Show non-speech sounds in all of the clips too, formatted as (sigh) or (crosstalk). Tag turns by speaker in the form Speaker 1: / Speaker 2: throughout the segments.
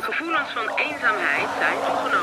Speaker 1: Gevoelens van eenzaamheid zijn toegenomen.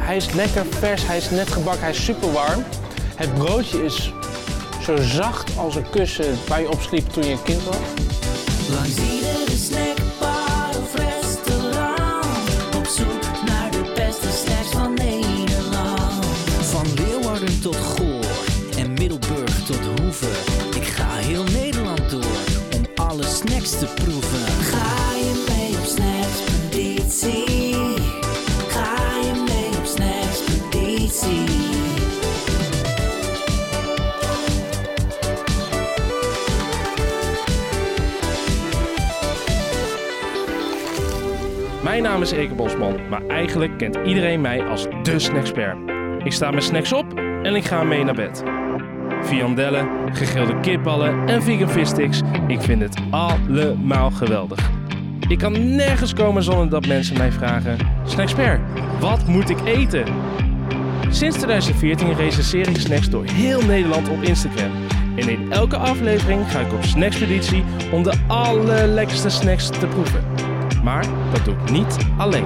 Speaker 2: Hij is lekker vers, hij is net gebakken, hij is super warm. Het broodje is zo zacht als een kussen waar je op sliep toen je een kind was.
Speaker 3: Langs iedere snackbar of restaurant Op zoek naar de beste snacks van Nederland Van Leeuwarden tot Goor en Middelburg tot Hoeve Ik ga heel Nederland door om alle snacks te proeven Ga je mee op snackspeditie? Ga je mee op snackspeditie?
Speaker 2: Mijn naam is Eke Bosman, maar eigenlijk kent iedereen mij als de snackspert. Ik sta mijn snacks op en ik ga mee naar bed. Viandellen, gegrilde kipballen en vegan vissticks, ik vind het allemaal geweldig. Ik kan nergens komen zonder dat mensen mij vragen... Snackspert, wat moet ik eten? Sinds 2014 recenseer ik snacks door heel Nederland op Instagram. En in elke aflevering ga ik op snackspeditie om de allerlekkerste snacks te proeven. Maar dat doe ik niet alleen.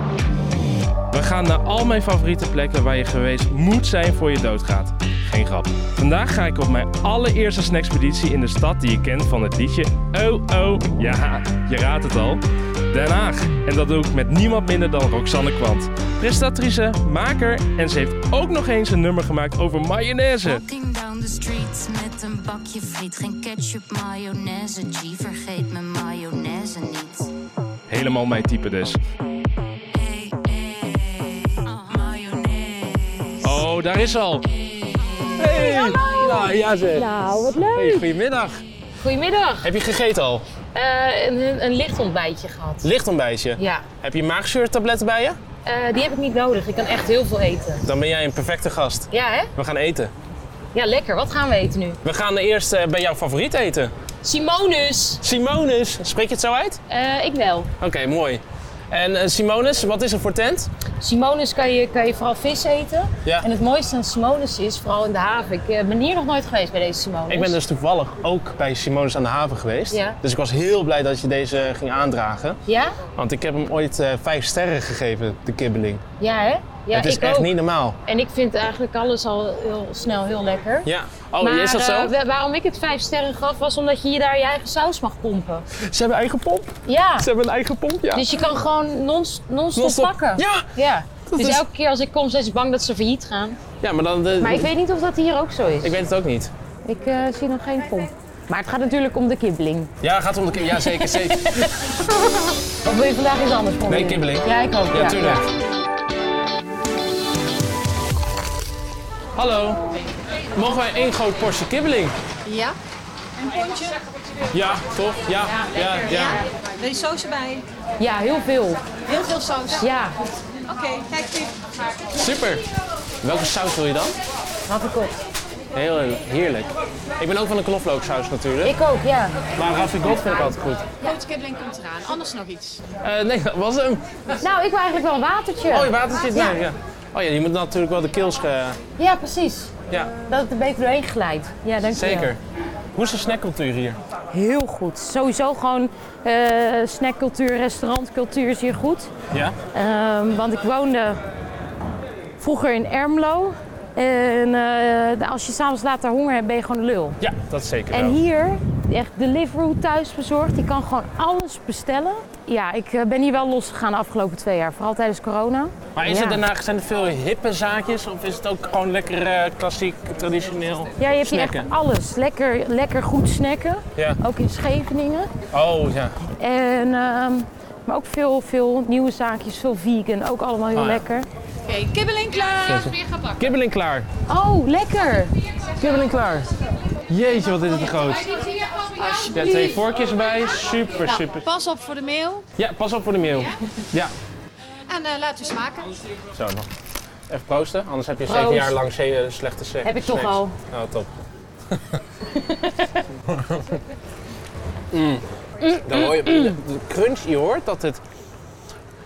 Speaker 2: We gaan naar al mijn favoriete plekken waar je geweest moet zijn voor je doodgaat. Geen grap. Vandaag ga ik op mijn allereerste snackspeditie in de stad die je kent van het liedje Oh Oh. Ja, je raadt het al. Den Haag. En dat doe ik met niemand minder dan Roxanne Kwant. Presentatrice, maker en ze heeft ook nog eens een nummer gemaakt over mayonaise.
Speaker 4: Walking down the streets met een bakje friet. Geen ketchup, mayonaise. G, vergeet mijn mayonaise niet.
Speaker 2: Helemaal mijn type dus.
Speaker 4: Hey, hey, oh, mayonaise.
Speaker 2: Oh, daar is ze al. Hey! Nou, ja zeg.
Speaker 5: Nou, wat leuk.
Speaker 2: Hey, goedemiddag.
Speaker 5: Goedemiddag.
Speaker 2: Heb je gegeten al?
Speaker 5: Eh, een, een licht ontbijtje gehad.
Speaker 2: Licht ontbijtje.
Speaker 5: Ja,
Speaker 2: Heb je maagzuurtabletten bij je?
Speaker 5: Eh, die heb ik niet nodig. Ik kan echt heel veel eten.
Speaker 2: Dan ben jij een perfecte gast.
Speaker 5: Ja, hè?
Speaker 2: We gaan eten.
Speaker 5: Ja, lekker. Wat gaan we eten nu?
Speaker 2: We gaan eerst eh, bij jouw favoriet eten.
Speaker 5: Simonus.
Speaker 2: Simonus. Spreek je het zo uit?
Speaker 5: Eh, ik wel.
Speaker 2: Oké, mooi. En eh, Simonus, wat is er voor tent?
Speaker 5: Simonus kan je, kan je vooral vis eten.
Speaker 2: Ja.
Speaker 5: En het mooiste aan Simonus is, vooral in de haven. Ik eh, ben hier nog nooit geweest bij deze Simonus.
Speaker 2: Ik ben dus toevallig ook bij Simonus aan de haven geweest.
Speaker 5: Ja.
Speaker 2: Dus ik was heel blij dat je deze ging aandragen.
Speaker 5: Ja?
Speaker 2: Want ik heb hem ooit eh, vijf sterren gegeven, de kibbeling.
Speaker 5: Ja, hè? Ja,
Speaker 2: het is
Speaker 5: ik
Speaker 2: echt
Speaker 5: ook.
Speaker 2: niet normaal.
Speaker 5: En ik vind eigenlijk alles al heel snel heel lekker.
Speaker 2: Ja. Oh,
Speaker 5: maar
Speaker 2: is dat zo?
Speaker 5: eh, wa- waarom ik het vijf sterren gaf, was omdat je hier daar je eigen saus mag pompen.
Speaker 2: Ze hebben eigen pomp.
Speaker 5: Ja.
Speaker 2: Ze hebben een eigen pomp, ja.
Speaker 5: Dus je kan gewoon non- non-stop
Speaker 2: Non-stop.
Speaker 5: pakken.
Speaker 2: Ja!
Speaker 5: Ja. Dus
Speaker 2: is-
Speaker 5: elke keer als ik kom, zijn ze bang dat ze failliet gaan.
Speaker 2: Ja, maar dan... de-
Speaker 5: Maar ik weet niet of dat hier ook zo is.
Speaker 2: ik
Speaker 5: Ik,
Speaker 2: weet het ook niet.
Speaker 5: eh, zie nog geen pomp. Maar het gaat natuurlijk om de kibbeling.
Speaker 2: Ja, gaat om de kibbeling. Ja, zeker,
Speaker 5: (laughs)
Speaker 2: zeker.
Speaker 5: Of wil je vandaag iets anders proberen?
Speaker 2: Nee, kibbeling.
Speaker 5: Ja, ik ook.
Speaker 2: Ja, tuurlijk. Hallo. Mogen wij één groot portie kibbeling?
Speaker 6: Ja,
Speaker 2: Ja, toch? Ja, ja, ja.
Speaker 6: wil je saus erbij?
Speaker 5: Ja. Ja, heel veel.
Speaker 6: Heel veel saus.
Speaker 5: Ja,
Speaker 6: Oké, kijk dit.
Speaker 2: Super. Welke saus wil je dan?
Speaker 5: had ik ook.
Speaker 2: Heel heerlijk. Ik ben ook van de knoflooksaus natuurlijk.
Speaker 5: Ik ook, ja.
Speaker 2: Maar ravigot vind ik altijd goed.
Speaker 6: Broodkibbeling komt eraan, anders nog iets.
Speaker 2: Eh, nee, dat was hem.
Speaker 5: Nou, ik wil eigenlijk wel een watertje.
Speaker 2: Oh, je water zit
Speaker 5: Ja.
Speaker 2: daar. Ja. Oh ja, je moet natuurlijk wel de keels... ge-
Speaker 5: Ja, precies.
Speaker 2: Ja,
Speaker 5: Dat het er beter doorheen glijdt. Ja, dankjewel.
Speaker 2: zeker. Hoe is de snackcultuur hier?
Speaker 5: Heel goed. Sowieso gewoon eh, snackcultuur, restaurantcultuur is hier goed.
Speaker 2: Ja?
Speaker 5: Ehm, want ik woonde vroeger in Ermelo. En eh, als je s'avonds later honger hebt, ben je gewoon een lul.
Speaker 2: Ja, dat zeker
Speaker 5: En
Speaker 2: wel.
Speaker 5: hier echt Deliveroo thuis bezorgd. Je kan gewoon alles bestellen. Ja, ik eh, ben hier wel losgegaan de afgelopen twee jaar. Vooral tijdens corona.
Speaker 2: Maar is
Speaker 5: Ja.
Speaker 2: het daarna, zijn er veel hippe zaakjes of is het ook gewoon lekker eh, klassiek, traditioneel?
Speaker 5: Ja, je hebt hier echt Ah.
Speaker 2: Snacken.
Speaker 5: alles. Lekker, lekker goed snacken.
Speaker 2: Ja.
Speaker 5: Ook in Scheveningen.
Speaker 2: Oh ja.
Speaker 5: En, ehm, maar ook veel, veel nieuwe zaakjes, veel vegan. Ook allemaal heel
Speaker 2: Oh, ja.
Speaker 5: lekker.
Speaker 7: Oké, kibbeling klaar.
Speaker 2: Kibbeling klaar.
Speaker 5: Oh, lekker!
Speaker 2: Kibbeling klaar. Jeetje, wat is het groot. Ja, twee vorkjes erbij. Super, super.
Speaker 7: Pas op voor de meel.
Speaker 2: Ja, pas op voor de meel. Ja.
Speaker 7: En eh, laten we smaken.
Speaker 2: Zo nog. Even proosten, anders heb je zeven
Speaker 5: Proost.
Speaker 2: jaar lang ze- eh, slechte seks.
Speaker 5: Heb ik toch
Speaker 2: snacks.
Speaker 5: al.
Speaker 2: Nou,
Speaker 5: (laughs)
Speaker 2: top. mm. Dan hoor je de crunch, je hoort dat het...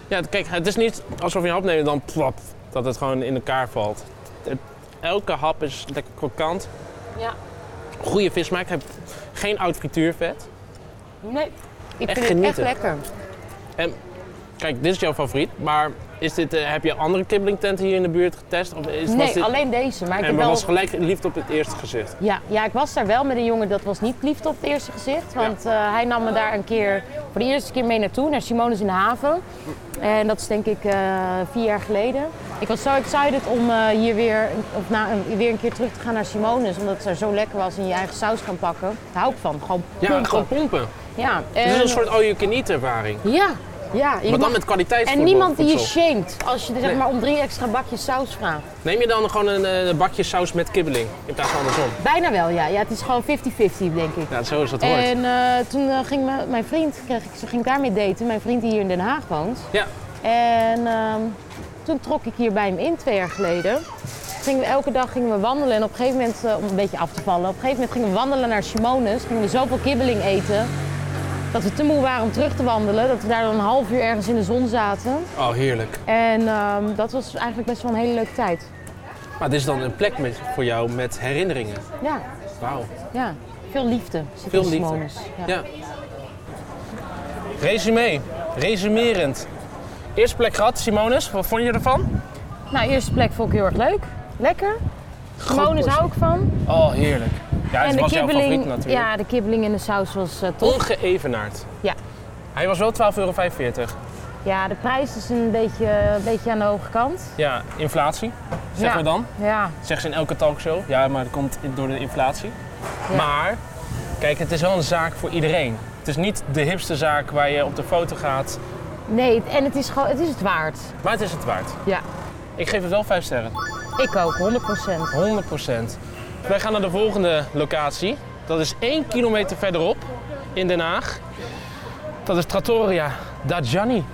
Speaker 2: Ja, kijk, het is niet alsof je een hap neemt en dan plap, dat het gewoon in elkaar valt. Het- elke hap is lekker krokant.
Speaker 5: Ja.
Speaker 2: Goede vismaak, heb geen oud frituurvet.
Speaker 5: Nee, ik
Speaker 2: Echt
Speaker 5: vind het
Speaker 2: genieten.
Speaker 5: echt lekker.
Speaker 2: Kijk, dit is jouw favoriet, maar is dit, eh, heb je andere kibbelingtenten hier in de buurt getest? Of is, was
Speaker 5: Nee,
Speaker 2: dit...
Speaker 5: alleen deze. Maar ik
Speaker 2: En
Speaker 5: heb
Speaker 2: maar
Speaker 5: wel...
Speaker 2: was gelijk liefde op het eerste gezicht.
Speaker 5: Ja, ja, ik was daar wel met een jongen dat was niet liefde op het eerste gezicht. Want eh, hij nam me daar een keer voor de eerste keer mee naartoe, naar Simonis in de haven. En dat is denk ik eh, vier jaar geleden. Ik was zo excited om eh, hier weer, of na, een- weer een keer terug te gaan naar Simonis. Omdat het daar zo lekker was en je eigen saus kan pakken. Daar hou ik van. Gewoon
Speaker 2: Ja,
Speaker 5: pompen.
Speaker 2: gewoon pompen.
Speaker 5: Ja,
Speaker 2: Het is
Speaker 5: en-
Speaker 2: een soort all-you-can-eat ervaring.
Speaker 5: Ja, ja. je
Speaker 2: Maar
Speaker 5: mag-
Speaker 2: dan met kwaliteit
Speaker 5: en
Speaker 2: voetbal-
Speaker 5: niemand die je
Speaker 2: voedsel.
Speaker 5: shamed als je er, zeg
Speaker 2: Nee.
Speaker 5: maar, om drie extra bakjes saus vraagt.
Speaker 2: Neem je dan gewoon een eh, bakje saus met kibbeling in plaats van andersom?
Speaker 5: Bijna wel, ja. ja het is gewoon 50-50, denk ik.
Speaker 2: Ja, zo is dat hoort.
Speaker 5: En eh, toen eh, ging mijn- mijn vriend, kreeg ik, ging ik daarmee daten, mijn vriend die hier in Den Haag woont.
Speaker 2: Ja.
Speaker 5: En ehm, toen trok ik hier bij hem in twee jaar geleden. Gingen we, elke dag gingen we wandelen en op een gegeven moment, eh, om een beetje af te vallen, op een gegeven moment gingen we wandelen naar Simonis. Gingen we zoveel kibbeling eten dat we te moe waren om terug te wandelen. Dat we daar dan een half uur ergens in de zon zaten.
Speaker 2: Oh, heerlijk.
Speaker 5: En ehm, dat was eigenlijk best wel een hele leuke tijd.
Speaker 2: Maar dit is dan een plek met, voor jou met herinneringen.
Speaker 5: Ja,
Speaker 2: Wauw.
Speaker 5: ja. Veel liefde. zit
Speaker 2: Veel
Speaker 5: in
Speaker 2: liefde.
Speaker 5: Simonis. Ja.
Speaker 2: Ja. Resume. Resumerend. Eerste plek gehad, Simonis. Wat vond je ervan?
Speaker 5: Nou, eerste plek vond ik heel erg leuk. Lekker. Simonis
Speaker 2: portie.
Speaker 5: hou ik van.
Speaker 2: Oh, heerlijk. Ja, het was jouw favoriet natuurlijk. Oh.
Speaker 5: ja, de kibbeling in de saus was eh, top.
Speaker 2: Ongeëvenaard.
Speaker 5: Ja.
Speaker 2: Hij was wel 12,45 euro.
Speaker 5: Ja, de prijs is een beetje, een beetje aan de hoge kant.
Speaker 2: Ja, inflatie. Zeggen
Speaker 5: Ja.
Speaker 2: we dan.
Speaker 5: Ja,
Speaker 2: Zeggen ze in elke talkshow. Ja, maar dat komt door de inflatie.
Speaker 5: Ja.
Speaker 2: Maar, kijk, het is wel een zaak voor iedereen. Het is niet de hipste zaak waar je op de foto gaat.
Speaker 5: nee, en het is, gewoon, het, is het waard.
Speaker 2: Maar het is het waard.
Speaker 5: Ja,
Speaker 2: Ik geef het wel 5 sterren.
Speaker 5: ik ook, 100 procent.
Speaker 2: 100 Wij gaan naar de volgende locatie. Dat is 1 kilometer verderop in Den Haag. Dat is Trattoria da Gianni.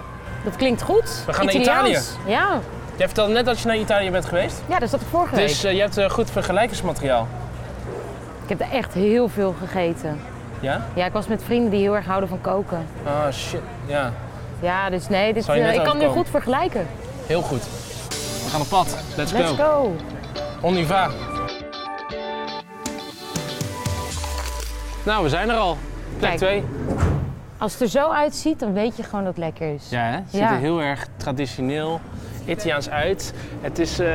Speaker 5: Dat klinkt goed.
Speaker 2: We gaan naar
Speaker 5: Italiaans. Ja.
Speaker 2: Jij vertelde net dat je naar Italië bent geweest.
Speaker 5: ja, dat zat ik vorige
Speaker 2: Dus eh, je hebt eh, goed vergelijkingsmateriaal.
Speaker 5: week. Ik heb er echt heel veel gegeten.
Speaker 2: Ja?
Speaker 5: Ja, ik was met vrienden die heel erg houden van koken.
Speaker 2: Ah, shit. Ja,
Speaker 5: Ja, dus nee, dit,
Speaker 2: Zou je
Speaker 5: eh,
Speaker 2: net
Speaker 5: ik kan nu
Speaker 2: overkomen?
Speaker 5: goed vergelijken.
Speaker 2: heel goed. We gaan op pad. Let's,
Speaker 5: Let's go.
Speaker 2: On y va. Nou, we zijn er al. Plek
Speaker 5: Kijk.
Speaker 2: 2.
Speaker 5: Als het er zo uitziet, dan weet je gewoon dat het lekker is.
Speaker 2: Ja, hè? ziet
Speaker 5: Ja.
Speaker 2: er heel erg traditioneel Italiaans uit. Het is, eh,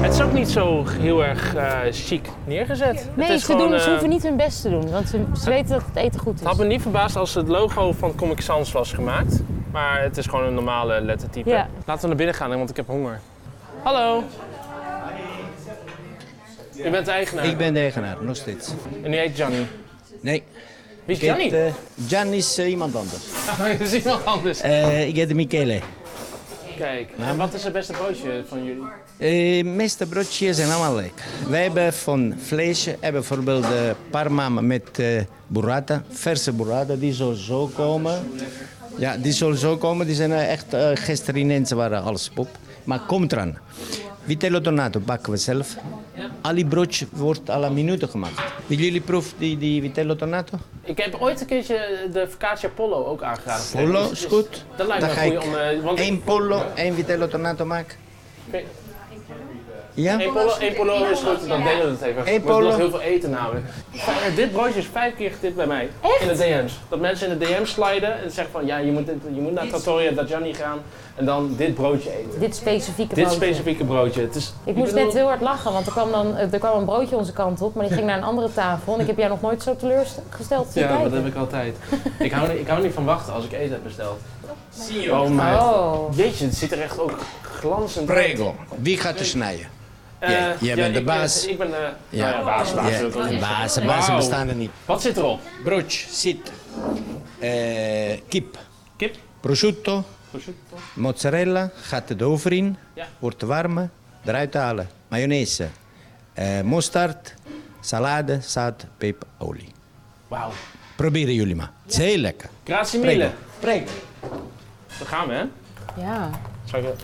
Speaker 2: het is ook niet zo heel erg eh chic neergezet. het
Speaker 5: Nee,
Speaker 2: is
Speaker 5: ze,
Speaker 2: gewoon,
Speaker 5: doen, ze
Speaker 2: eh,
Speaker 5: hoeven niet hun best te doen, want ze, ze weten dat het eten goed
Speaker 2: Het had me
Speaker 5: is.
Speaker 2: niet verbaasd als het logo van Comic Sans was gemaakt. Maar het is gewoon een normale lettertype.
Speaker 5: Ja.
Speaker 2: Laten we naar binnen gaan, want ik heb honger. Hallo. U bent de eigenaar.
Speaker 8: Ik ben de eigenaar, nog steeds.
Speaker 2: En u heet Gianni.
Speaker 8: Nee,
Speaker 2: Wie is
Speaker 8: ik
Speaker 2: Gianni?
Speaker 8: heet, eh, Gianni is eh, iemand anders.
Speaker 2: (laughs) Dat is iemand anders.
Speaker 8: Eh, ik heet Michele.
Speaker 2: Kijk,
Speaker 8: Nou,
Speaker 2: en wat is het beste broodje van jullie?
Speaker 8: Eh, De meeste broodjes zijn allemaal lekker. Wij hebben van vlees, hebben bijvoorbeeld eh, parma met eh, burrata, verse burrata, die zal zo komen. Ja, die zal zo komen, die zijn eh, echt eh, gisteren ineens waren alles pop. Maar komt eraan. Vitello donato bakken we zelf. Al die broodjes wordt à la minute gemaakt. Willen jullie proef die, die vitello donato?
Speaker 2: Ik heb ooit een keertje de Focaccia Pollo ook aangeraden.
Speaker 8: Pollo
Speaker 2: Dus- dus
Speaker 8: is goed.
Speaker 2: Dat lijkt me
Speaker 8: Dan
Speaker 2: een eh,
Speaker 8: ga
Speaker 2: goeie om... eh,
Speaker 8: ik
Speaker 2: want
Speaker 8: één pollo, één vitello tornato maken.
Speaker 2: Oké.
Speaker 8: Ja?
Speaker 2: Eén polo, één polo is goed, dan delen we het even.
Speaker 8: Eén
Speaker 2: We hebben
Speaker 8: polo.
Speaker 2: nog heel veel eten namelijk. Vijf- dit broodje is vijf keer getipt bij mij. In de DM's. Dat mensen in de DM's sliden en zeggen van ja, je moet, dit- je moet naar Trattoria Dajani gaan en dan dit broodje eten.
Speaker 5: Dit specifieke
Speaker 2: Dit
Speaker 5: broodje.
Speaker 2: specifieke broodje. Het is,
Speaker 5: Ik moest
Speaker 2: bedoel-
Speaker 5: net heel hard lachen, want er kwam, dan, eh, er kwam een broodje onze kant op, maar die ging naar een andere tafel. En ik heb jou nog nooit zo teleurgesteld zien
Speaker 2: Ja, dat
Speaker 5: kijken.
Speaker 2: heb ik altijd. ik, hou, niet- ik hou niet van wachten als ik eten heb besteld. Zie je Oh mijn.
Speaker 5: Oh,
Speaker 2: Jeetje, het ziet er echt ook glanzend uit.
Speaker 8: Prego. Wie gaat er snijden?
Speaker 2: Eh,
Speaker 8: Jij- jij bent de
Speaker 2: ik-
Speaker 8: baas.
Speaker 2: Ik, ben de
Speaker 8: Ja.
Speaker 2: nou ja, baas. baas wil ik ook
Speaker 8: Ja,
Speaker 2: niet
Speaker 8: bazen,
Speaker 2: zeggen.
Speaker 8: bazen
Speaker 2: Wauw.
Speaker 8: bestaan er niet.
Speaker 2: Wat zit erop?
Speaker 8: Broodje, zit. Eh, kip,
Speaker 2: Kip?
Speaker 8: prosciutto,
Speaker 2: Prosciutto?
Speaker 8: mozzarella, gaat de oven in,
Speaker 2: Ja.
Speaker 8: wordt warm, eruit halen, mayonaise, eh, mosterd, salade, zout, peper, olie.
Speaker 2: Wauw.
Speaker 8: Proberen jullie maar. Het is heel lekker.
Speaker 2: Grazie
Speaker 8: Prego.
Speaker 2: mille.
Speaker 8: Prego.
Speaker 2: Daar gaan we, hè?
Speaker 5: ja.
Speaker 2: Zal ik... het-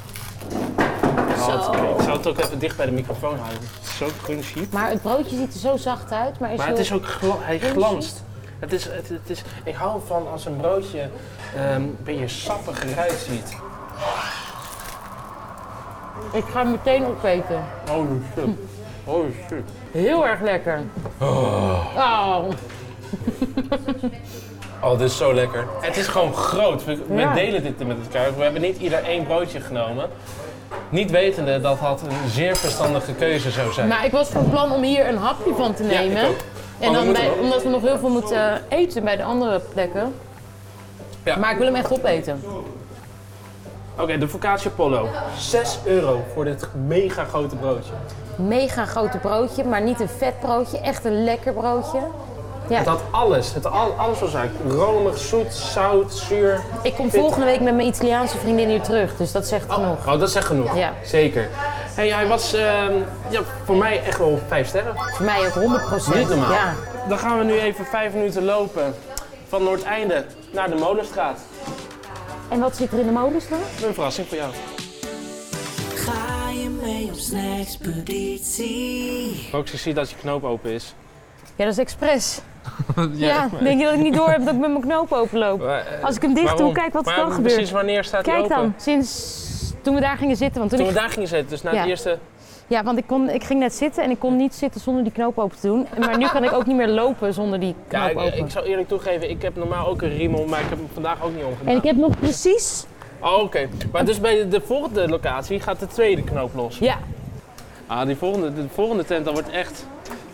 Speaker 2: Oh, oké. Ik zal het ook even dicht bij de microfoon houden. Het is zo crunchy.
Speaker 5: Maar het broodje ziet er zo zacht uit, maar is
Speaker 2: Maar
Speaker 5: heel...
Speaker 2: het is ook gla- hij glanst. Het is, het, het is, ik hou van als een broodje ehm een beetje sappig eruit ziet.
Speaker 5: Ik ga hem meteen opeten.
Speaker 2: Holy shit. Holy shit.
Speaker 5: Heel erg lekker. Oh.
Speaker 2: Oh, dit is zo lekker. Het is gewoon groot. We, we
Speaker 5: Ja.
Speaker 2: delen dit met elkaar. We hebben niet ieder één broodje genomen. Niet wetende dat dat een zeer verstandige keuze zou zijn.
Speaker 5: Maar ik was van plan om hier een hapje van te
Speaker 2: Ja, ik
Speaker 5: nemen.
Speaker 2: ook. Oh,
Speaker 5: En
Speaker 2: we
Speaker 5: dan
Speaker 2: moeten
Speaker 5: bij-
Speaker 2: wel.
Speaker 5: omdat we nog heel veel moeten eten bij de andere plekken.
Speaker 2: Ja.
Speaker 5: Maar ik wil hem echt opeten.
Speaker 2: Oké, de focaccia polo. 6 euro voor dit mega grote broodje.
Speaker 5: Mega grote broodje, maar niet een vet broodje. Echt een lekker broodje. Ja,
Speaker 2: Het had alles. Het al, alles was eigenlijk romig, zoet, zout, zuur.
Speaker 5: ik kom volgende week met mijn Italiaanse vriendin hier terug, dus dat zegt genoeg.
Speaker 2: Oh, dat is echt genoeg.
Speaker 5: Ja.
Speaker 2: Zeker. Hey, hij was ehm, ja, voor mij echt wel 5 sterren.
Speaker 5: Voor mij ook 100
Speaker 2: Niet normaal.
Speaker 5: Ja.
Speaker 2: Dan gaan we nu even 5 minuten lopen van Noordeinde naar de Molenstraat.
Speaker 5: En wat zit er in de molenstraat?
Speaker 2: Een verrassing voor jou.
Speaker 3: Ga je mee op snackspeditie?
Speaker 2: Ook zie dat je knoop open is.
Speaker 5: Ja, dat is
Speaker 2: (laughs)
Speaker 5: expres. ja, denk je dat ik niet door heb dat ik met mijn knoop openloop?
Speaker 2: eh,
Speaker 5: Als ik hem dicht doe, kijk wat er dan
Speaker 2: Precies
Speaker 5: gebeurt.
Speaker 2: wanneer staat hij
Speaker 5: Kijk
Speaker 2: open?
Speaker 5: dan, sinds toen we daar gingen zitten. Want toen
Speaker 2: Toen
Speaker 5: ik,
Speaker 2: we daar gingen zitten, dus na
Speaker 5: Ja.
Speaker 2: de eerste...
Speaker 5: Ja, want ik, kon, ik ging net zitten en ik kon niet zitten zonder die knoop open te doen. Maar nu kan ik ook niet meer lopen zonder die knoop
Speaker 2: Ja, ik,
Speaker 5: open.
Speaker 2: ik zou eerlijk toegeven, ik heb normaal ook een riem om, maar ik heb hem vandaag ook niet omgedaan.
Speaker 5: En ik heb nog precies...
Speaker 2: Oh, oké. Maar dus bij de, de volgende locatie gaat de tweede knoop los.
Speaker 5: Ja,
Speaker 2: Ah, die volgende, de volgende tent, dat wordt echt...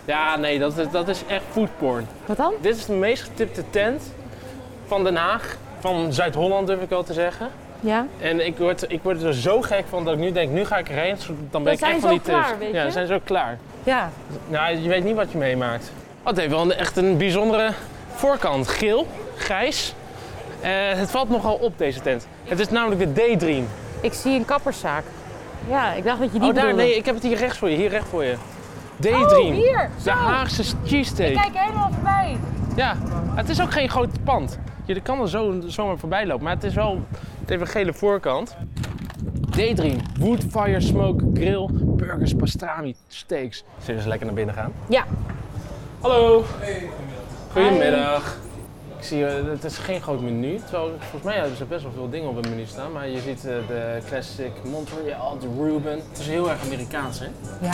Speaker 2: Ja, nee, dat, is- dat is echt foodporn.
Speaker 5: wat dan?
Speaker 2: Dit is de meest getipte tent van Den Haag. Van Zuid-Holland durf ik al te zeggen.
Speaker 5: Ja.
Speaker 2: En ik word, ik word er zo gek van dat ik nu denk, nu ga ik erheen. zo- Dan ben ik
Speaker 5: zijn
Speaker 2: echt
Speaker 5: ze
Speaker 2: van die
Speaker 5: al klaar,
Speaker 2: tips.
Speaker 5: weet
Speaker 2: ja,
Speaker 5: je?
Speaker 2: ze zijn zo klaar.
Speaker 5: Ja.
Speaker 2: Nou, je weet niet wat je meemaakt. Oh, het heeft wel een, echt een bijzondere voorkant. Geel, grijs. Eh, het valt nogal op deze tent. Het is namelijk de Daydream.
Speaker 5: Ik zie een kapperszaak. Ja, ik dacht dat je die
Speaker 2: oh, daar,
Speaker 5: bedoelde.
Speaker 2: nee, ik heb het hier rechts voor je. Hier recht voor je. Daydream.
Speaker 5: Oh, hier,
Speaker 2: De
Speaker 5: zo.
Speaker 2: Haagse cheesesteak.
Speaker 5: Kijk helemaal voorbij.
Speaker 2: Ja, het is ook geen groot pand. Je kan er zo, zomaar voorbij lopen, maar het is wel het heeft een gele voorkant. Daydream, wood, fire, smoke, grill, burgers, pastrami, steaks. Zullen we eens lekker naar binnen gaan?
Speaker 5: Ja.
Speaker 2: Hallo. Goedemiddag. Ik zie, eh, het is geen groot menu. Terwijl, volgens mij hebben ze best wel veel dingen op het menu staan. Maar je ziet eh, de classic Montreal, de Reuben. Het is heel erg Amerikaans, hè?
Speaker 5: Ja.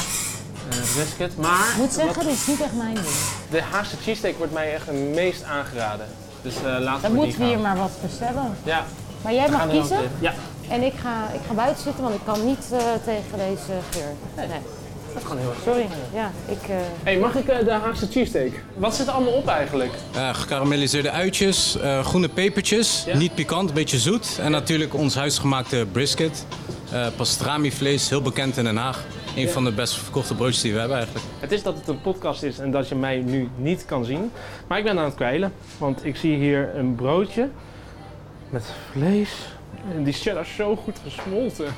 Speaker 2: Eh, brisket, maar...
Speaker 5: Ik moet zeggen, dit is niet echt mijn ding.
Speaker 2: De Haagse cheesesteak wordt mij echt het meest aangeraden. Dus eh laten
Speaker 5: Dan
Speaker 2: we
Speaker 5: moeten we
Speaker 2: die
Speaker 5: hier
Speaker 2: gaan.
Speaker 5: maar wat bestellen.
Speaker 2: Ja,
Speaker 5: Maar jij
Speaker 2: we
Speaker 5: mag
Speaker 2: gaan er ook
Speaker 5: kiezen.
Speaker 2: in. Ja,
Speaker 5: En ik ga, ik ga buiten zitten, want ik kan niet eh, tegen deze geur. Nee,
Speaker 2: dat kan heel erg.
Speaker 5: sorry. Ja, ik... eh,
Speaker 2: Hey, mag ik eh, de Haagse cheesesteak? Wat zit er allemaal op eigenlijk?
Speaker 9: Eh, gekarameliseerde uitjes, eh, groene pepertjes,
Speaker 2: Ja.
Speaker 9: niet pikant, een beetje zoet. En natuurlijk ons huisgemaakte brisket. Eh pastrami vlees, heel bekend in Den Haag. Een van de best verkochte broodjes die we hebben eigenlijk.
Speaker 2: Het is dat het een podcast is en dat je mij nu niet kan zien. Maar ik ben aan het kwijlen, want ik zie hier een broodje met vlees. En die cheddar is zo goed gesmolten.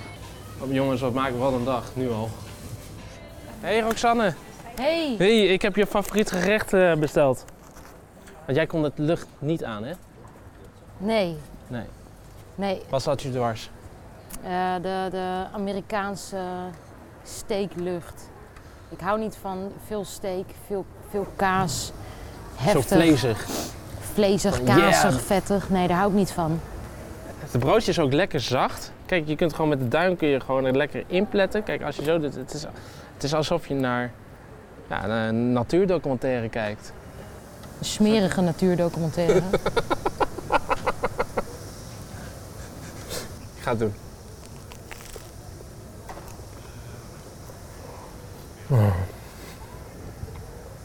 Speaker 2: Oh, jongens, wat maken we wat een dag, nu al. Hey Roxanne.
Speaker 5: Hey.
Speaker 2: Hey, ik heb je favoriet gerecht eh, besteld. Want jij kon het lucht niet aan, hè?
Speaker 5: Nee.
Speaker 2: Nee.
Speaker 5: Nee,
Speaker 2: Wat zat je dwars?
Speaker 5: eh, de, de Amerikaanse steeklucht. Ik hou niet van veel steek, veel, veel kaas. Heftig,
Speaker 2: Zo vlezig.
Speaker 5: vlezig,
Speaker 2: Yeah.
Speaker 5: kazig, vettig. Nee, daar hou ik niet van.
Speaker 2: Het broodje is ook lekker zacht. Kijk, je kunt gewoon met de duim kun je gewoon er lekker inpletten. Kijk, als je zo doet, het is, het is alsof je naar ja, naar een natuurdocumentaire kijkt.
Speaker 5: Een smerige natuurdocumentaire.
Speaker 2: Ik ga het doen.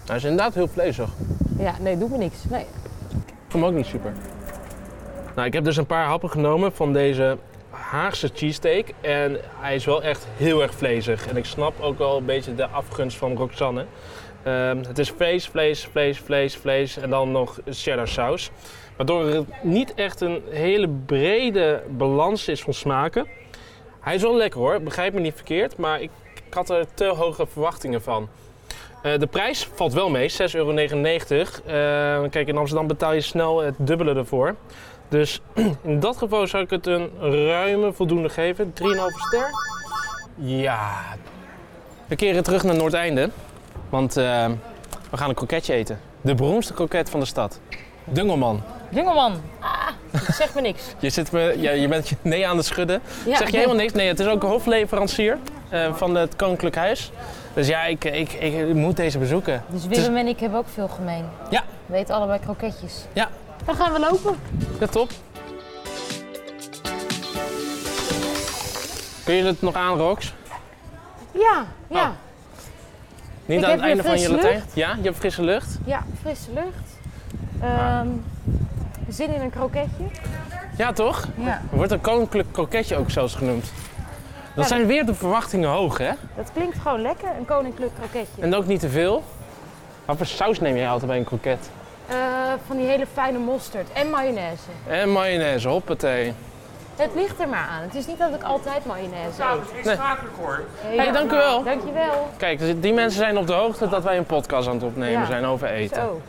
Speaker 2: Hij is inderdaad heel vleesig.
Speaker 5: (laughs) ja, nee, doet me niks. Nee.
Speaker 2: Ik vond hem ook niet super. Nou, ik heb dus een paar happen genomen van deze Haagse cheesesteak. En hij is wel echt heel erg vlezig. En ik snap ook wel een beetje de afgunst van Roxanne. Ehm, het is vlees, vlees, vlees, vlees, vlees en dan nog cheddar saus. Waardoor er niet echt een hele brede balans is van smaken. Hij is wel lekker hoor, begrijp me niet verkeerd. Maar ik, ik had er te hoge verwachtingen van. Eh, de prijs valt wel mee, 6,99 euro. Eh, kijk, in Amsterdam betaal je snel het dubbele ervoor. Dus (clears throat) in dat geval zou ik het een ruime voldoende geven. 3,5 ster. Ja. We keren terug naar Noordeinde. Want eh, we gaan een kroketje eten. De beroemdste kroket van de stad. Dungelman.
Speaker 5: Jongeman, ah, (laughs) zeg me niks.
Speaker 2: Je, zit me, ja, je bent (laughs) je nee aan het schudden.
Speaker 5: Ja,
Speaker 2: zeg je
Speaker 5: nee.
Speaker 2: helemaal niks? Nee, het is ook een hofleverancier eh, van het Koninklijk Huis. Dus ja, ik, ik, ik, moet deze bezoeken.
Speaker 5: (laughs) Dus
Speaker 2: Het is-
Speaker 5: Willem en ik hebben ook veel gemeen.
Speaker 2: Ja.
Speaker 5: We eten allebei kroketjes.
Speaker 2: Ja.
Speaker 5: Dan gaan we lopen.
Speaker 2: Ja, top. Kun je het nog aan, Rox?
Speaker 5: Ja, ja,
Speaker 2: Niet
Speaker 5: Ik
Speaker 2: aan
Speaker 5: heb
Speaker 2: het
Speaker 5: weer
Speaker 2: einde van je
Speaker 5: frisse
Speaker 2: Latijn? Ja, je hebt frisse lucht.
Speaker 5: ja, frisse lucht. Ehm, zin in een kroketje.
Speaker 2: Ja, toch?
Speaker 5: Ja.
Speaker 2: Wordt een koninklijk kroketje ook zelfs genoemd. Dan
Speaker 5: Ja.
Speaker 2: zijn weer de verwachtingen hoog, hè?
Speaker 5: Dat klinkt gewoon lekker, een koninklijk kroketje.
Speaker 2: En ook niet te veel. Wat voor saus neem jij altijd bij een kroket?
Speaker 5: Eh, van die hele fijne mosterd en mayonaise.
Speaker 2: En mayonaise, hoppatee.
Speaker 5: Het ligt er maar aan. Het is niet dat ik altijd mayonaise eet.
Speaker 2: Nee.
Speaker 5: Hé,
Speaker 2: Hey, dank u wel.
Speaker 5: Dankjewel.
Speaker 2: Kijk, dus die mensen zijn op de hoogte dat wij een podcast aan het opnemen
Speaker 5: Ja.
Speaker 2: zijn over eten.
Speaker 5: Zo.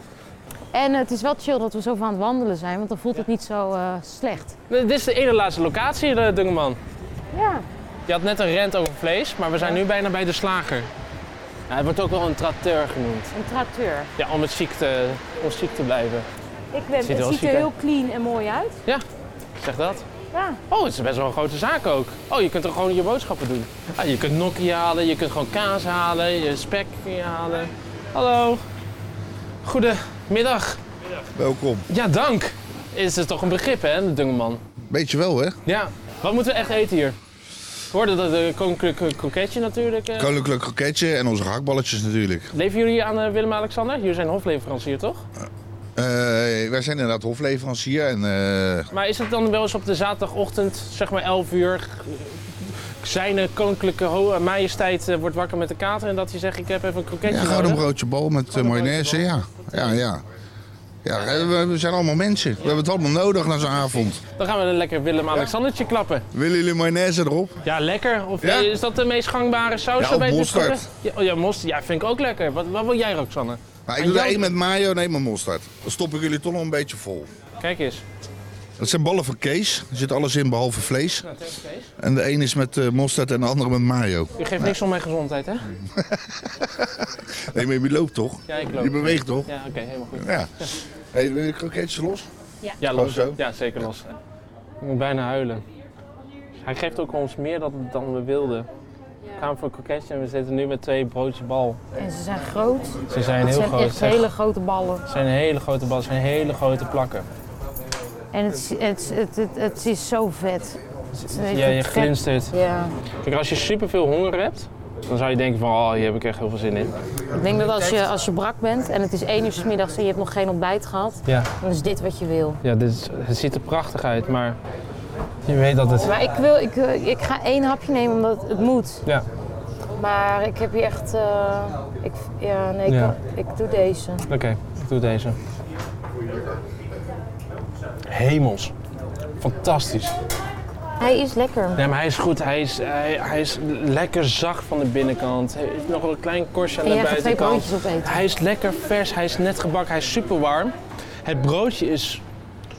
Speaker 5: En het is wel chill dat we zoveel aan het wandelen zijn, want dan voelt het niet zo eh, slecht.
Speaker 2: Dit is de ene laatste locatie, eh, Dungeman.
Speaker 5: Ja.
Speaker 2: Je had net een rent over vlees, maar we zijn nu bijna bij de slager. Ja, het wordt ook wel een tracteur genoemd.
Speaker 5: Een tracteur.
Speaker 2: Ja, om, het ziek te, om ziek te blijven.
Speaker 5: Ik ben,
Speaker 2: Ziet er
Speaker 5: het
Speaker 2: wel
Speaker 5: ziet er
Speaker 2: chic
Speaker 5: heel clean en mooi uit.
Speaker 2: Zeg dat.
Speaker 5: Ja.
Speaker 2: Oh, het is best wel een grote zaak ook. Oh, je kunt er gewoon je boodschappen doen. Ah, je kunt nokkie halen, je kunt gewoon kaas halen, je spek kun je halen. Hallo. Goedemiddag.
Speaker 4: Welkom.
Speaker 2: Ja, dank. Is het toch een begrip, hè, de dungeman?
Speaker 4: Weet je wel, hè?
Speaker 2: Ja. Wat moeten we echt eten hier? We hoorden dat eh, koninklijk kroketje natuurlijk. eh.
Speaker 4: Koninklijk kroketje en onze hakballetjes natuurlijk.
Speaker 2: Leven jullie aan eh, Willem-Alexander? Jullie zijn hofleverancier, toch?
Speaker 4: Eh, wij zijn inderdaad hofleverancier en eh,
Speaker 2: Maar is het dan wel eens op de zaterdagochtend, zeg maar 11 uur, g- zijn koninklijke ho- eh, majesteit eh, wordt wakker met de kater en dat hij zegt ik heb even een kroketje
Speaker 4: ja, gewoon
Speaker 2: nodig?
Speaker 4: een broodje bal met eh, mayonaise. Ja, ja, ja. ja we, we zijn allemaal mensen. We hebben het allemaal nodig na zo'n avond.
Speaker 2: Dan gaan we een lekker Willem-Alexandertje klappen.
Speaker 4: Willen jullie mayonaise erop?
Speaker 2: Ja, lekker. Of
Speaker 4: Ja?
Speaker 2: eh, is dat de meest gangbare saus
Speaker 4: Ja, of
Speaker 2: bij dit
Speaker 4: mosterd.
Speaker 2: soort- Ja, oh ja, mosterd. Ja, vind ik ook lekker. Wat, wat wil jij, Roxanne?
Speaker 4: Nou, ik
Speaker 2: En
Speaker 4: doe er
Speaker 2: jou-
Speaker 4: één met mayo en één met mosterd. Dan stop ik jullie toch nog een beetje vol.
Speaker 2: Kijk eens.
Speaker 4: Dat zijn ballen van Kees. Er zit alles in behalve vlees.
Speaker 2: Nou, tegen Kees.
Speaker 4: En de een is met eh, mosterd en de andere met mayo.
Speaker 2: U geeft niks om mijn gezondheid, hè?
Speaker 4: Nee, maar je loopt toch?
Speaker 2: Ja, ik loop.
Speaker 4: Je beweegt toch?
Speaker 2: Ja, oké, helemaal goed.
Speaker 4: Ja. Hey, wil je kroketjes los?
Speaker 2: Ja,
Speaker 4: Gewoon
Speaker 2: los.
Speaker 4: zo?
Speaker 2: Ja, zeker los. Ik moet bijna huilen. Hij geeft ook ons meer dan, dan we wilden. We kwamen voor een kroketje en we zitten nu met twee broodjes bal.
Speaker 5: En ze zijn groot. Het
Speaker 2: Ze zijn heel
Speaker 5: zijn
Speaker 2: groot.
Speaker 5: echt
Speaker 2: zeg.
Speaker 5: hele grote ballen.
Speaker 2: Het zijn hele grote ballen, het zijn hele grote plakken.
Speaker 5: En het, is- het, het, het, het is zo vet. Het is echt
Speaker 2: Ja, je
Speaker 5: vet.
Speaker 2: glinstert.
Speaker 5: Ja.
Speaker 2: Kijk, als je superveel honger hebt, dan zou je denken van, oh, hier heb ik echt heel veel zin in.
Speaker 5: Ik denk dat als je, als je brak bent en het is één uur 's middags en je hebt nog geen ontbijt gehad,
Speaker 2: Ja,
Speaker 5: dan is dit wat je wil.
Speaker 2: ja dit is- het ziet er prachtig uit, maar je weet dat het...
Speaker 5: Maar ik, wil, ik, eh, ik ga één hapje nemen omdat het moet.
Speaker 2: Ja.
Speaker 5: Maar ik heb hier echt. eh, ik, ja, nee, ik,
Speaker 2: Ja.
Speaker 5: ik doe deze.
Speaker 2: Oké, ik doe deze. Hemels. Fantastisch.
Speaker 5: Hij is lekker.
Speaker 2: Nee, maar hij is goed. Hij is, hij, hij is lekker zacht van de binnenkant. Hij heeft nog wel een klein korstje aan
Speaker 5: En
Speaker 2: de
Speaker 5: jij gaat twee
Speaker 2: buitenkant.
Speaker 5: broodjes opeten.
Speaker 2: Hij is lekker vers. Hij is net gebakken. Hij is super warm. Het broodje is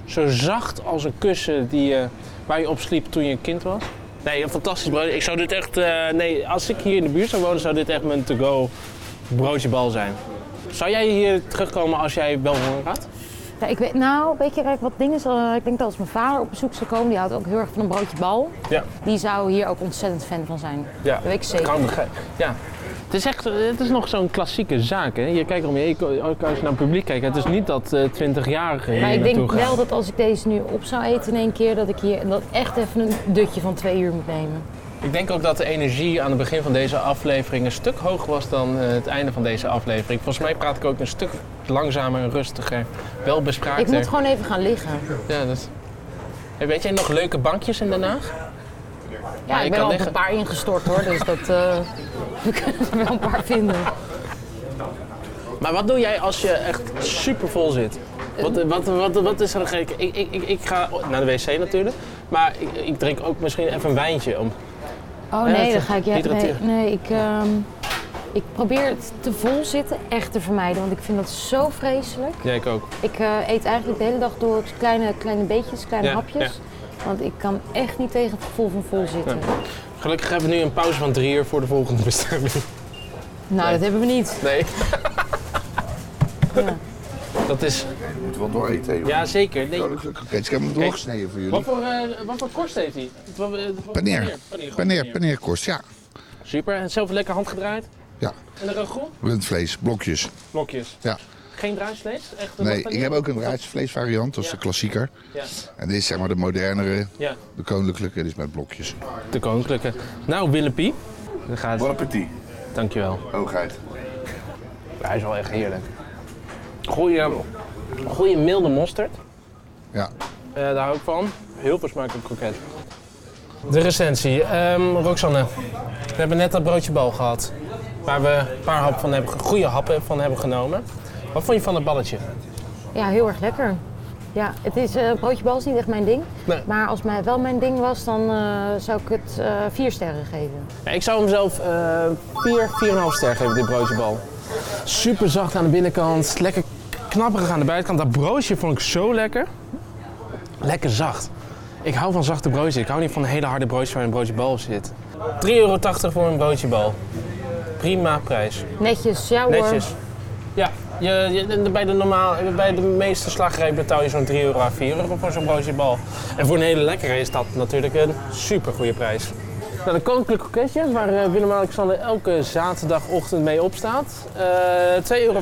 Speaker 2: zo zacht als een kussen die, je- waar je op sliep toen je een kind was. Nee, een fantastisch broodje. Ik zou dit echt... eh, nee, als ik hier in de buurt zou wonen, zou dit echt mijn to-go broodjebal zijn. Zou jij hier terugkomen als jij wel honger had?
Speaker 5: Ja, ik weet, nou, weet je, kijk, wat ding is, eh, ik denk dat als mijn vader op bezoek zou komen, die houdt ook heel erg van een broodje bal.
Speaker 2: Ja.
Speaker 5: Die zou hier ook ontzettend fan van zijn.
Speaker 2: Ja,
Speaker 5: Dat weet ik zeker.
Speaker 2: Kan begrijpen. Ja. Het is echt, het is nog zo'n klassieke zaak. Hè? Je kijkt om je heen, ook als je naar het publiek kijkt. Het is niet dat eh 20-jarigen hier
Speaker 5: Maar ik denk
Speaker 2: naartoe gaan.
Speaker 5: wel dat als ik deze nu op zou eten in één keer, dat ik hier dat echt even een dutje van twee uur moet nemen.
Speaker 2: Ik denk ook dat de energie aan het begin van deze aflevering een stuk hoger was dan eh, het einde van deze aflevering. Volgens mij praat ik ook een stuk langzamer en rustiger. Wel bespraakter.
Speaker 5: ik moet gewoon even gaan liggen.
Speaker 2: Ja, dat... Hey, weet jij nog leuke bankjes in Den Haag?
Speaker 5: Ja,
Speaker 2: je
Speaker 5: ik
Speaker 2: kan
Speaker 5: ben al op
Speaker 2: liggen.
Speaker 5: een paar ingestort hoor, dus dat, eh, (laughs) we kunnen er wel een paar vinden.
Speaker 2: Maar wat doe jij als je echt super vol zit? Wat, wat, wat, wat is er gek? Ik, ik, ik, ik ga naar de wc natuurlijk, maar ik, ik drink ook misschien even een wijntje om.
Speaker 5: Oh
Speaker 2: Ja,
Speaker 5: nee,
Speaker 2: dat-
Speaker 5: dan ga ik jij. Nee,
Speaker 2: hydrateren.
Speaker 5: nee ik, ehm, ik probeer het te vol zitten echt te vermijden, want ik vind dat zo vreselijk.
Speaker 2: Ja, ik ook.
Speaker 5: Ik eh, eet eigenlijk de hele dag door kleine, kleine beetjes, kleine
Speaker 2: Ja,
Speaker 5: hapjes. Want ik kan echt niet tegen het gevoel van Nou, vol zitten.
Speaker 2: Gelukkig hebben we nu een pauze van drie uur voor de volgende (laughs) bestemming.
Speaker 5: Nou, dat hebben we niet.
Speaker 2: Nee. Dat is...
Speaker 4: Je moet wel door eten.
Speaker 2: Ja, zeker. Nee.
Speaker 4: Oké, dus ik heb hem doorgesneden voor jullie.
Speaker 2: Wat voor, eh, wat voor korst heeft hij? Wat- eh, wat-
Speaker 4: Paneer.
Speaker 2: gewoon
Speaker 4: Paneer, paneerkorst, ja.
Speaker 2: Super. En zelf lekker handgedraaid?
Speaker 4: Ja.
Speaker 2: En de rogel?
Speaker 4: Rundvlees, blokjes.
Speaker 2: Blokjes.
Speaker 4: Ja.
Speaker 2: Geen draaisvlees? Echt een
Speaker 4: Nee,
Speaker 2: wat
Speaker 4: ik heb ook een raadsvleesvariant, dat is de klassieker.
Speaker 2: Ja.
Speaker 4: En dit is zeg maar de modernere,
Speaker 2: Ja.
Speaker 4: de koninklijke, dit is met blokjes.
Speaker 2: De koninklijke. Nou, Willepie. Dan gaat... Bon
Speaker 4: appetit.
Speaker 2: Dankjewel.
Speaker 4: Hoogheid.
Speaker 2: hij is wel echt heerlijk. Goeie, goeie milde mosterd.
Speaker 4: Ja.
Speaker 2: Eh, daar hou ik van. Heel veel smaak op kroket. De recensie. Ehm, Roxanne, we hebben net dat broodje bal gehad. Waar we een paar hap van hebben, goede happen van hebben genomen. Wat vond je van het balletje?
Speaker 5: Ja, heel erg lekker. Ja, het is, eh broodje bal is niet echt mijn ding.
Speaker 2: Nee.
Speaker 5: Maar als mij wel mijn ding was, dan eh, zou ik het eh, vier sterren geven.
Speaker 2: Ja, ik zou hem zelf eh 4, 4,5 ster geven, dit broodjebal. Super zacht aan de binnenkant, lekker knapperig aan de buitenkant. Dat broodje vond ik zo lekker. Lekker zacht. Ik hou van zachte broodjes. Ik hou niet van hele harde broodjes waar een broodjebal op zit. 3,80 euro voor een broodjebal. Prima prijs.
Speaker 5: Netjes, ja hoor.
Speaker 2: Netjes. Ja, je, je- de- bij, de normaal, bij de meeste slagerij betaal je zo'n 3 euro à 4 euro voor zo'n broodje bal. En voor een hele lekkere is dat natuurlijk een super goede prijs. Nou, de Koninklijk Koketje, waar eh, Willem-Alexander elke zaterdagochtend mee opstaat. Eh 2,25 euro.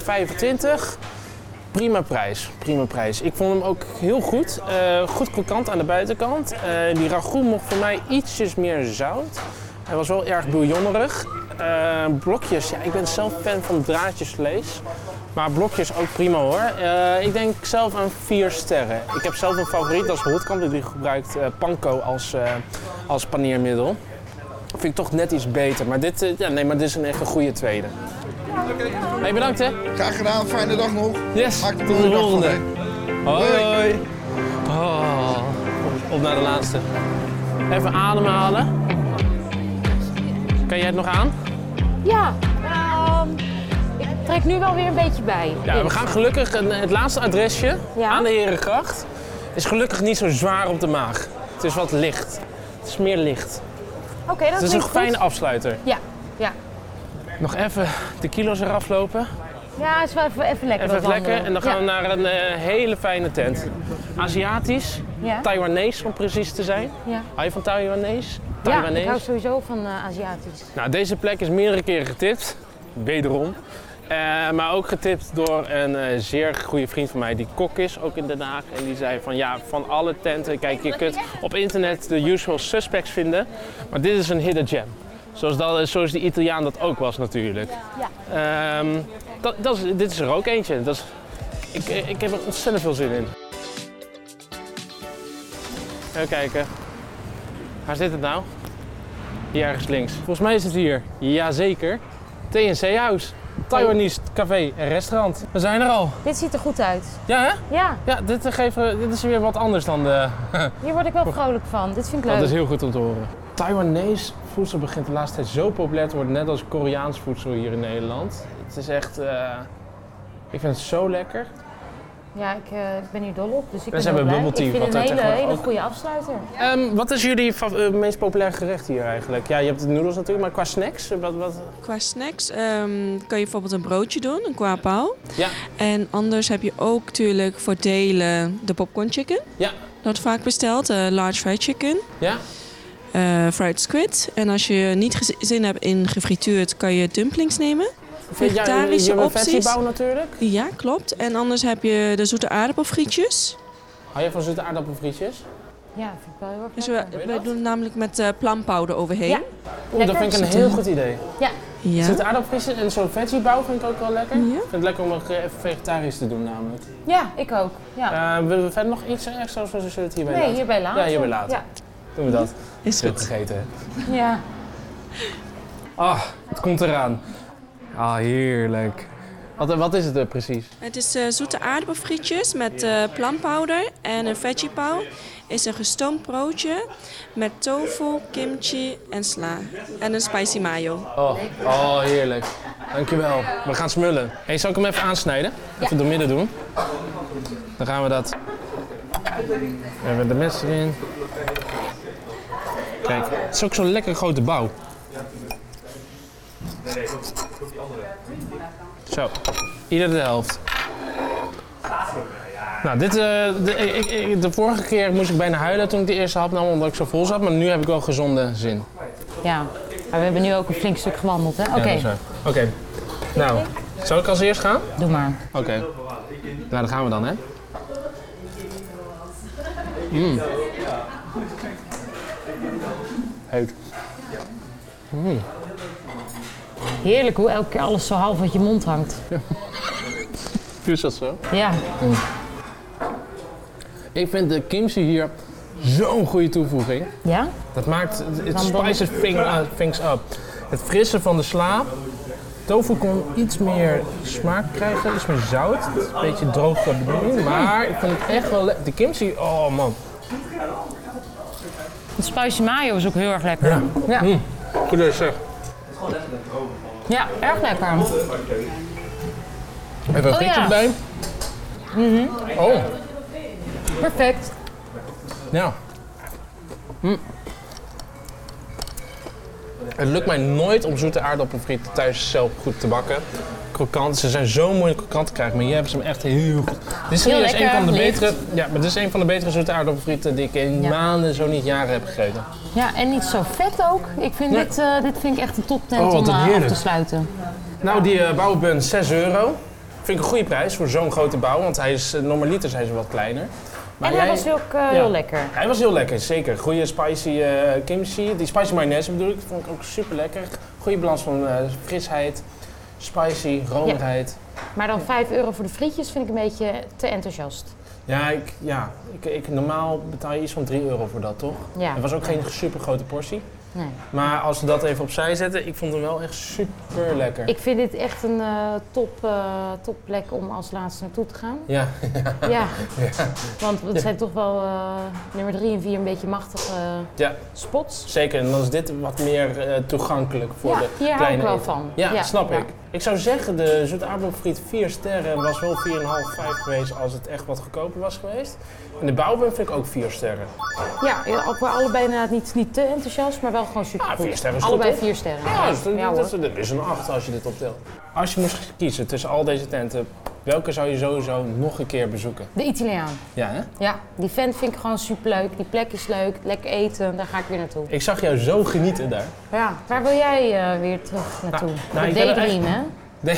Speaker 2: Prima prijs, prima prijs. Ik vond hem ook heel goed. Eh, goed krokant aan de buitenkant. Eh, die ragout mocht voor mij ietsjes meer zout. Hij was wel erg bouillonnerig. Eh, blokjes, ja, ik ben zelf fan van draadjesvlees. Maar blokjes ook prima hoor. Eh, ik denk zelf aan vier sterren. Ik heb zelf een favoriet, dat is Holtkamp. Die gebruikt eh, panko als, eh, als paneermiddel. Vind ik toch net iets beter. Maar dit, eh, ja, nee, maar dit is een echt een goede tweede. Hey, bedankt hè.
Speaker 4: Graag gedaan, fijne dag nog.
Speaker 2: Yes,
Speaker 4: Maak er
Speaker 2: tot de
Speaker 4: een dag van,
Speaker 2: volgende.
Speaker 4: hè.
Speaker 2: Hoi. Oh, op- op naar de laatste. Even ademhalen. Kan jij het nog aan?
Speaker 5: Ja, ehm, ik trek nu wel weer een beetje bij.
Speaker 2: Ja, we gaan gelukkig een- het laatste adresje aan de Herengracht. Is gelukkig niet zo zwaar op de maag. Het is wat licht. Het is meer licht.
Speaker 5: Oké, dat
Speaker 2: het is een
Speaker 5: klinkt
Speaker 2: fijne
Speaker 5: goed.
Speaker 2: afsluiter.
Speaker 5: Ja, ja.
Speaker 2: Nog even de kilo's eraf lopen.
Speaker 5: Ja, is wel even, even lekker.
Speaker 2: Even
Speaker 5: dat
Speaker 2: lekker.
Speaker 5: wandelen.
Speaker 2: En dan gaan we
Speaker 5: Ja.
Speaker 2: naar een eh, hele fijne tent. Aziatisch.
Speaker 5: Ja.
Speaker 2: Taiwanees om precies te zijn.
Speaker 5: Ja.
Speaker 2: Hou je van Taiwanees?
Speaker 5: Ja,
Speaker 2: Taiwanees?
Speaker 5: ik hou sowieso van eh, Aziatisch.
Speaker 2: Nou, deze plek is meerdere keren getipt, wederom. Eh, maar ook getipt door een eh, zeer goede vriend van mij die kok is, ook in Den Haag. En die zei van ja, van alle tenten, kijk je kunt op internet de usual suspects vinden. Maar dit is een hidden gem. Zoals, dat, zoals die Italiaan dat ook was natuurlijk. Ehm, dat, dat is, dit is er ook eentje. Dat is, ik, ik heb er ontzettend veel zin in. Even kijken. Waar zit het nou? Hier ergens links. Volgens mij is het hier. Jazeker. TNC House. Taiwanese café en restaurant. We zijn er al.
Speaker 5: Dit ziet er goed uit.
Speaker 2: Ja, hè?
Speaker 5: Ja,
Speaker 2: Ja, dit, eh, geven, dit is weer wat anders dan de...
Speaker 5: hier word ik wel vrolijk van. Dit vind ik leuk.
Speaker 2: Dat is heel goed om te horen. Taiwanese voedsel begint de laatste tijd zo populair te worden, net als Koreaans voedsel hier in Nederland. Het is echt... eh, Ik vind het zo lekker.
Speaker 5: Ja, ik, eh, ik ben hier dol op. Dus ik
Speaker 2: En
Speaker 5: ben
Speaker 2: ze
Speaker 5: heel
Speaker 2: hebben
Speaker 5: blij.
Speaker 2: bubble tea,
Speaker 5: Ik
Speaker 2: wat
Speaker 5: vind het
Speaker 2: daar
Speaker 5: een hele,
Speaker 2: tegenwoordig
Speaker 5: hele
Speaker 2: ook-
Speaker 5: goede afsluiter.
Speaker 2: Ehm, wat is jullie fav- eh, meest populaire gerecht hier eigenlijk? Ja, je hebt het noedels natuurlijk, maar qua snacks? eh, Wat, wat...
Speaker 6: Qua snacks ehm, kan je bijvoorbeeld een broodje doen, een kwaapau.
Speaker 2: Ja.
Speaker 6: En anders heb je ook natuurlijk voor delen de popcorn chicken.
Speaker 2: Ja.
Speaker 6: Dat wordt vaak besteld, eh, large fried chicken.
Speaker 2: Ja?
Speaker 6: eh, fried squid. En als je niet gez- zin hebt in gefrituurd, kan je dumplings nemen. Vegetarische
Speaker 2: ja,
Speaker 6: opties.
Speaker 2: bouw natuurlijk.
Speaker 6: Ja, klopt. En anders heb je de zoete aardappelfrietjes.
Speaker 2: Hou je van zoete aardappelfrietjes?
Speaker 5: Ja, vind ik wel heel erg
Speaker 6: Dus we, we doen het namelijk met eh plampouder overheen.
Speaker 5: Ja.
Speaker 2: Oeh, dat vind ik een heel goed idee.
Speaker 5: Ja.
Speaker 6: Ja.
Speaker 2: Zoete aardappelfrietjes en zo'n veggiebouw vind ik ook wel lekker. Ik vind het lekker om nog even vegetarisch te doen namelijk.
Speaker 5: Ja, ik ook. Ja.
Speaker 2: Eh, willen we verder nog iets extra's of zullen we het hierbij
Speaker 5: Nee,
Speaker 2: laten?
Speaker 5: hierbij laten.
Speaker 2: Ja, hierbij laten.
Speaker 5: Ja.
Speaker 2: Doen we dat.
Speaker 6: Is
Speaker 2: goed. gegeten.
Speaker 5: ja.
Speaker 2: Ah, het komt eraan. Ah, heerlijk. Wat, wat is het er precies?
Speaker 6: Het is eh, zoete aardappelfrietjes met eh plampouder en een veggie pauw. Is een gestoomd broodje met tofu, kimchi en sla. En een spicy mayo.
Speaker 2: Oh, oh heerlijk. Dankjewel. We gaan smullen. Hey, zal ik hem even aansnijden? Even door midden doen. Dan gaan we dat. Even de mes erin. Kijk, het is ook zo'n lekker grote bouw. Zo, ieder de helft. Nou, dit, eh, de, ik, ik- de vorige keer moest ik bijna huilen toen ik de eerste hap nam omdat ik zo vol zat, maar nu heb ik wel gezonde zin.
Speaker 5: Ja, maar we hebben nu ook een flink stuk gewandeld, hè? Oké.
Speaker 2: Ja, dat is waar. Oké. Nou, zal ik als eerst gaan?
Speaker 5: Doe maar.
Speaker 2: Oké. Nou, daar gaan we dan, hè? Mm. Heet. Mm.
Speaker 5: Heerlijk hoe elke keer alles zo half uit je mond hangt.
Speaker 2: Is dat zo?
Speaker 5: Ja.
Speaker 2: Ik vind de kimchi hier zo'n goede toevoeging.
Speaker 5: Ja?
Speaker 2: Dat maakt, het
Speaker 5: Dan
Speaker 2: spices
Speaker 5: dan-
Speaker 2: thing- uh, things up. Het frisse van de sla. Tofu kon iets meer smaak krijgen, iets meer zout. Het is Een beetje droog qua bedoeling, maar ik vind het echt wel lekker. De kimchi, oh man.
Speaker 5: Het spicy mayo is ook heel erg lekker.
Speaker 2: Ja.
Speaker 5: Ja,
Speaker 2: Mm. Goed zeg.
Speaker 5: Ja, erg lekker.
Speaker 2: Even een
Speaker 5: Oh,
Speaker 2: frietje
Speaker 5: ja.
Speaker 2: erbij.
Speaker 5: Mhm.
Speaker 2: Oh,
Speaker 5: Perfect.
Speaker 2: ja. Mm. Het lukt mij nooit om zoete aardappelfrieten thuis zelf goed te bakken. Krokant, ze zijn zo moeilijk krokant te krijgen, maar hier hebben ze hem echt heel goed. Dit is
Speaker 5: Heel
Speaker 2: serieus een
Speaker 5: lekker,
Speaker 2: van de
Speaker 5: licht.
Speaker 2: betere, ja, maar dit is een van de betere zoete aardappelfrieten die ik in
Speaker 5: Ja.
Speaker 2: maanden, zo niet jaren heb gegeten.
Speaker 5: Ja, en niet zo vet ook. Ik vind
Speaker 2: Nee.
Speaker 5: dit, eh, dit vind ik echt een top tent
Speaker 2: Oh, wat
Speaker 5: om
Speaker 2: een
Speaker 5: eh, af
Speaker 2: heerlijk.
Speaker 5: te sluiten.
Speaker 2: Nou, die eh, bouwbun 6 euro. Vind ik een goede prijs voor zo'n grote bouw, want hij is, eh, normaliter zijn ze wat kleiner. Maar
Speaker 5: en hij
Speaker 2: jij-
Speaker 5: was ook eh,
Speaker 2: Ja.
Speaker 5: heel lekker.
Speaker 2: Hij was heel lekker, zeker. Goede spicy eh, kimchi. Die spicy mayonaise bedoel ik, vond ik ook super lekker. Goede balans van eh, frisheid, spicy, romigheid.
Speaker 5: Maar dan 5 euro voor de frietjes vind ik een beetje te enthousiast.
Speaker 2: Ja, ik, ja ik, ik, normaal betaal je iets van 3 euro voor dat, toch?
Speaker 5: Ja.
Speaker 2: Het was ook geen super grote portie.
Speaker 5: Nee.
Speaker 2: Maar als we dat even opzij zetten, ik vond hem wel echt super lekker.
Speaker 5: Ik vind dit echt een eh, top, eh, top plek om als laatste naartoe te
Speaker 2: (laughs)
Speaker 5: gaan.
Speaker 2: Ja.
Speaker 5: Ja.
Speaker 2: ja.
Speaker 5: Want
Speaker 2: Ja.
Speaker 5: het zijn toch wel eh, nummer 3 en 4 een beetje machtige eh,
Speaker 2: Ja.
Speaker 5: spots.
Speaker 2: Zeker, en dan is dit wat meer eh, toegankelijk voor
Speaker 5: Ja,
Speaker 2: de
Speaker 5: hier hou
Speaker 2: kleine
Speaker 5: ik wel
Speaker 2: eter.
Speaker 5: van.
Speaker 2: Ja,
Speaker 5: Ja,
Speaker 2: snap
Speaker 5: ja.
Speaker 2: ik. Ik zou zeggen, de zoete aardappelfriet 4 sterren was wel 4,5, 5 geweest als het echt wat goedkoper was geweest. En de bouwbun vind ik ook 4 sterren.
Speaker 5: Ja, ja, ook wel allebei inderdaad niet, niet te enthousiast, maar wel gewoon super.
Speaker 2: Ah, 4 sterren is
Speaker 5: Allebei
Speaker 2: goed, hoor.
Speaker 5: vier sterren.
Speaker 2: Ja, dus dat,
Speaker 5: Ja,
Speaker 2: dat,
Speaker 5: hoor.
Speaker 2: dat is een 8 als je dit optelt. Als je moest kiezen tussen al deze tenten, welke zou je sowieso nog een keer bezoeken?
Speaker 5: De Italiaan.
Speaker 2: Ja, hè?
Speaker 5: Ja, die vent vind ik gewoon super leuk. Die plek is leuk. Lekker eten, daar ga ik weer naartoe.
Speaker 2: Ik zag jou zo genieten daar.
Speaker 5: Ja, waar wil jij eh, weer terug naartoe?
Speaker 2: Nou,
Speaker 5: Nou,
Speaker 2: ik ben er
Speaker 5: Daydream,
Speaker 2: echt-
Speaker 5: hè?
Speaker 2: Nee.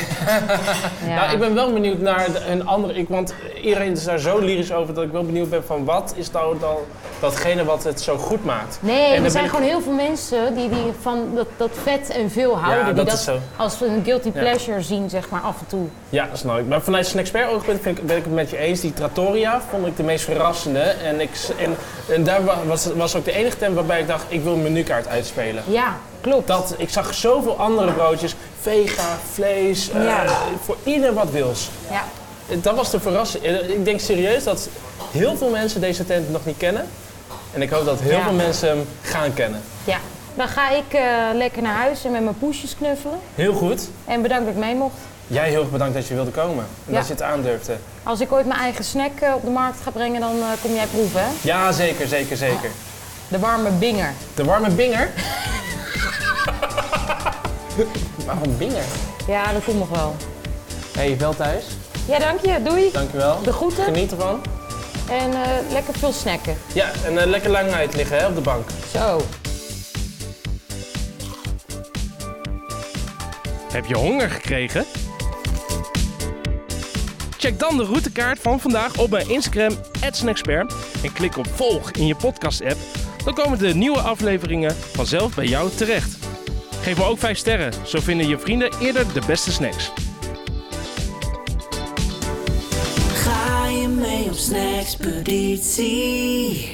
Speaker 5: (laughs) Ja.
Speaker 2: Nou, ik ben wel benieuwd naar de- een andere. Ik, want iedereen is daar zo lyrisch over dat ik wel benieuwd ben van wat is nou dan datgene wat het zo goed maakt. En
Speaker 5: Nee,
Speaker 2: dan
Speaker 5: er
Speaker 2: ben
Speaker 5: zijn
Speaker 2: ik-
Speaker 5: gewoon heel veel mensen die, die van dat, dat vet en veel houden.
Speaker 2: dat
Speaker 5: die
Speaker 2: is zo.
Speaker 5: als een guilty
Speaker 2: Ja.
Speaker 5: pleasure zien, zeg maar, af en toe.
Speaker 2: Ja, dat snap ik. Maar vanuit zijn expert oogpunt vind ik, ben ik het met je eens. Die Trattoria vond ik de meest verrassende. En, ik, s- en, en daar wa- was, was ook de enige tent waarbij ik dacht, ik wil een menukaart uitspelen.
Speaker 5: Ja, klopt.
Speaker 2: Dat, ik zag zoveel andere broodjes. Vega, vlees, eh,
Speaker 5: Ja.
Speaker 2: voor ieder wat wils.
Speaker 5: Ja.
Speaker 2: Dat was de verrassing. Eh, Ik denk serieus dat heel veel mensen deze tent nog niet kennen. En ik hoop dat heel
Speaker 5: Ja.
Speaker 2: veel mensen hem gaan kennen.
Speaker 5: Ja. Dan ga ik eh, lekker naar huis en met mijn poesjes knuffelen.
Speaker 2: Heel goed.
Speaker 5: En bedankt dat ik mee mocht.
Speaker 10: Jij heel erg bedankt dat je wilde komen. En
Speaker 5: Ja.
Speaker 10: dat je het aandurfde.
Speaker 5: Als ik ooit mijn eigen snack eh, op de markt ga brengen, dan eh, kom jij proeven. hè?
Speaker 10: Ja, zeker, zeker, zeker.
Speaker 5: De warme binger.
Speaker 10: De warme
Speaker 5: (laughs)
Speaker 10: binger? Waarom binger?
Speaker 5: Ja, dat komt nog wel.
Speaker 10: Hé, hey, wel thuis.
Speaker 5: Ja, dank je. Doei.
Speaker 10: Dankjewel.
Speaker 5: De groeten.
Speaker 10: Geniet ervan.
Speaker 5: En eh, lekker veel snacken.
Speaker 10: Ja, en eh, lekker lang uit liggen hè, op de bank.
Speaker 5: Zo.
Speaker 2: Heb je honger gekregen? Check dan de routekaart van vandaag op mijn Instagram, @snackspert en klik op volg in je podcast-app. Dan komen de nieuwe afleveringen vanzelf bij jou terecht. Geef me ook 5 sterren, zo vinden je vrienden eerder de beste snacks.
Speaker 11: Ga je mee op snackspeditie?